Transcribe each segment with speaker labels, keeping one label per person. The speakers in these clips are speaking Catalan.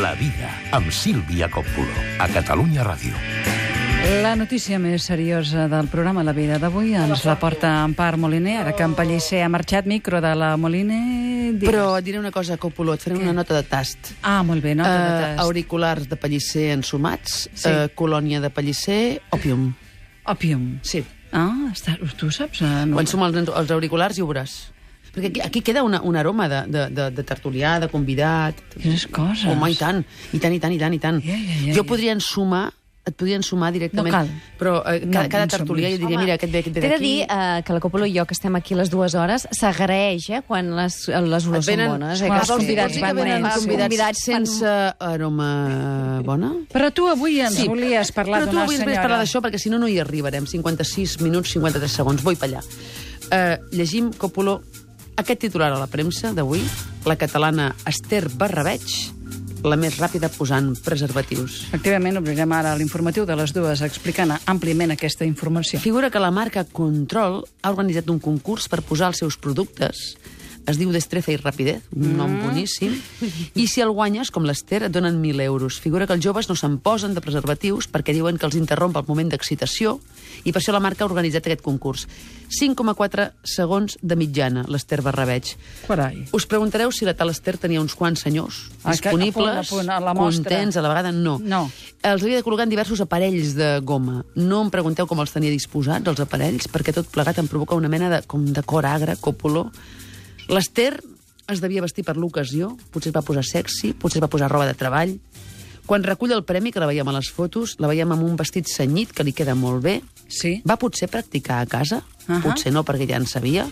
Speaker 1: La vida amb Sílvia Coppola, a Catalunya Ràdio.
Speaker 2: La notícia més seriosa del programa La vida d'avui ens la porta Empar Moliner. Ara que en Pellicer ha marxat, micro de la Moliner... digues.
Speaker 3: Però et diré una cosa, Copoló, et faré una nota de tast.
Speaker 2: Ah, molt bé, no?
Speaker 3: Eh, auriculars de pellicer ensumats,
Speaker 2: Sí.
Speaker 3: eh, colònia de pellicer, òpium.
Speaker 2: Òpium.
Speaker 3: Sí.
Speaker 2: Ah, està... tu ho saps? eh? No.
Speaker 3: Quan suma els, els auriculars i ho veuràs. Perquè aquí, aquí queda una, un aroma de, de, de, de tertulià, de convidat...
Speaker 2: Quines coses.
Speaker 3: Home, i tant, i tant, i tant, i tant, i tant.
Speaker 2: Ja, ja, ja,
Speaker 3: jo
Speaker 2: ja.
Speaker 3: podria ensumar et podria ensumar directament.
Speaker 2: No cal.
Speaker 3: Però eh,
Speaker 2: No,
Speaker 3: cada, cada
Speaker 2: no
Speaker 3: tertulià
Speaker 2: ensumis.
Speaker 3: jo diria, mira, aquest ve, aquest ve
Speaker 4: T'he de
Speaker 3: d'aquí...
Speaker 4: dir eh, que la Coppola i jo, que estem aquí les dues hores, s'agraeix eh, quan les, les
Speaker 3: Et
Speaker 4: olors
Speaker 3: venen-
Speaker 4: són bones. Eh,
Speaker 2: Quan
Speaker 4: que
Speaker 2: els
Speaker 4: sí.
Speaker 2: convidats
Speaker 4: Vols dir
Speaker 2: van
Speaker 4: que venen
Speaker 2: bé,
Speaker 4: els
Speaker 2: sí.
Speaker 4: convidats
Speaker 3: sense
Speaker 4: sense...
Speaker 3: aroma bona?
Speaker 2: Però tu avui ens
Speaker 3: Sí.
Speaker 2: volies parlar
Speaker 3: Però tu
Speaker 2: d'una
Speaker 3: avui ens
Speaker 2: senyora...
Speaker 3: volies parlar d'això perquè si no no hi arribarem. 56 minuts, 53 segons. Vull pallar. Uh, llegim, Copoló, aquest titular a la premsa d'avui, la catalana Esther Barrabeig, la més ràpida posant preservatius.
Speaker 2: Efectivament, obrirem ara l'informatiu de les dues explicant àmpliament aquesta informació.
Speaker 3: Figura que la marca Control ha organitzat un concurs per posar els seus productes es diu Destreza i Rapidez, un nom boníssim. I si el guanyes, com l'Ester, et donen 1.000 euros. Figura que els joves no se'n posen de preservatius perquè diuen que els interromp el moment d'excitació i per això la marca ha organitzat aquest concurs. 5,4 segons de mitjana, l'Ester Barrabeig.
Speaker 2: Carai.
Speaker 3: Us preguntareu si la tal Esther tenia uns quants senyors
Speaker 2: Ah, que- a
Speaker 3: disponibles,
Speaker 2: punt, a punt, a la mostra.
Speaker 3: contents, a la vegada no.
Speaker 2: No.
Speaker 3: Els havia de col·locar en diversos aparells de goma. No em pregunteu com els tenia disposats, els aparells, perquè tot plegat em provoca una mena de, com de cor agre, copoló. L'Ester es devia vestir per l'ocasió, potser es va posar sexy, potser es va posar roba de treball. Quan recull el premi, que la veiem a les fotos, la veiem amb un vestit cenyit que li queda molt bé.
Speaker 2: Sí?
Speaker 3: Va potser practicar a casa?
Speaker 2: Ahà.
Speaker 3: Potser no, perquè ja en sabia.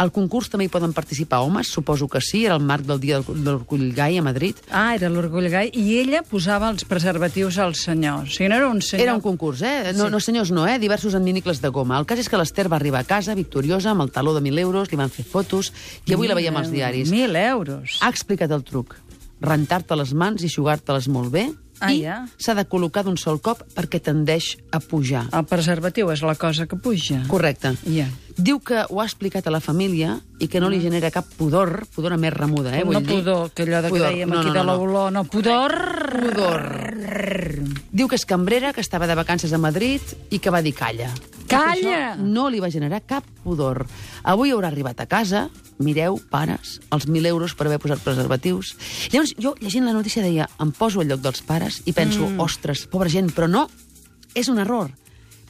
Speaker 3: Al concurs també hi poden participar homes, suposo que sí, era el marc del Dia del- de l'Orgull Gai a Madrid.
Speaker 2: Ah, era l'orgull gai. I ella posava els preservatius al senyor. O sigui, no era un senyor...
Speaker 3: Era un concurs, eh? No, sí. no senyors, no, eh? Diversos enminicles de goma. El cas és que l'Ester va arribar a casa victoriosa amb el taló de 1.000 euros, li van fer fotos i avui la veiem als diaris. Ah,
Speaker 2: Mil euros.
Speaker 3: Ha explicat el truc. Rentar-te les mans i jugar-te-les molt bé
Speaker 2: Ah,
Speaker 3: i
Speaker 2: ja.
Speaker 3: s'ha de col·locar d'un sol cop perquè tendeix a pujar.
Speaker 2: El preservatiu és la cosa que puja.
Speaker 3: Correcte.
Speaker 2: Ja.
Speaker 3: Diu que ho ha explicat a la família i que no li genera cap pudor, pudor a més remuda, eh, vull
Speaker 2: no
Speaker 3: dir.
Speaker 2: pudor, que allò de que
Speaker 3: Pudor.
Speaker 2: dèiem
Speaker 3: No,
Speaker 2: aquí
Speaker 3: no,
Speaker 2: de
Speaker 3: no, no.
Speaker 2: l'olor, no, pudor...
Speaker 3: Pudor. Diu que és cambrera, que estava de vacances a Madrid i que va dir calla.
Speaker 2: Calla!
Speaker 3: Això no li va generar cap pudor. Avui haurà arribat a casa, mireu, pares, els 1.000 euros per haver posat preservatius. Llavors, jo, llegint la notícia, deia, em poso al lloc dels pares i penso, mm. ostres, pobra gent, però no, és un error.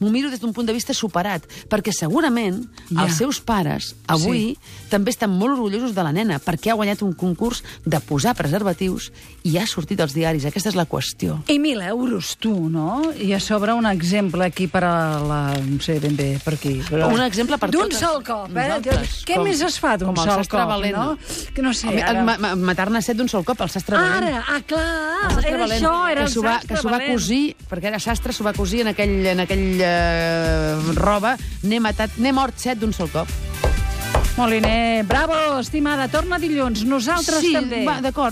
Speaker 3: M'ho miro des d'un punt de vista superat, perquè segurament
Speaker 2: Ja.
Speaker 3: ja. els seus pares, avui, sí. també estan molt orgullosos de la nena, perquè ha guanyat un concurs de posar preservatius i ha sortit als diaris. Aquesta és la qüestió.
Speaker 2: I mil euros, tu, no? I a sobre un exemple aquí per a la... No sé ben bé per aquí. Però...
Speaker 3: Un exemple per
Speaker 2: D'un
Speaker 3: totes
Speaker 2: sol cop, eh?
Speaker 3: nosaltres,
Speaker 2: Què
Speaker 3: com-
Speaker 2: més es fa d'un
Speaker 3: com el
Speaker 2: sol
Speaker 3: sastre
Speaker 2: cop,
Speaker 3: Valena.
Speaker 2: no? Que no sé,
Speaker 3: Home,
Speaker 2: ara...
Speaker 3: ma- ma- Matar-ne set d'un sol cop, el sastre valent.
Speaker 2: Ara, ah, clar,
Speaker 3: Sastre
Speaker 2: era
Speaker 3: Valent,
Speaker 2: això, era
Speaker 3: que
Speaker 2: el
Speaker 3: s'ho va,
Speaker 2: sastre
Speaker 3: que s'ho va
Speaker 2: Valent.
Speaker 3: cosir, perquè era sastre, s'ho va cosir en aquell, en aquell eh, roba. N'he matat, n'he mort set d'un sol cop.
Speaker 2: Moliner, bravo, estimada, torna dilluns, nosaltres
Speaker 3: sí,
Speaker 2: també.
Speaker 3: va, d'acord.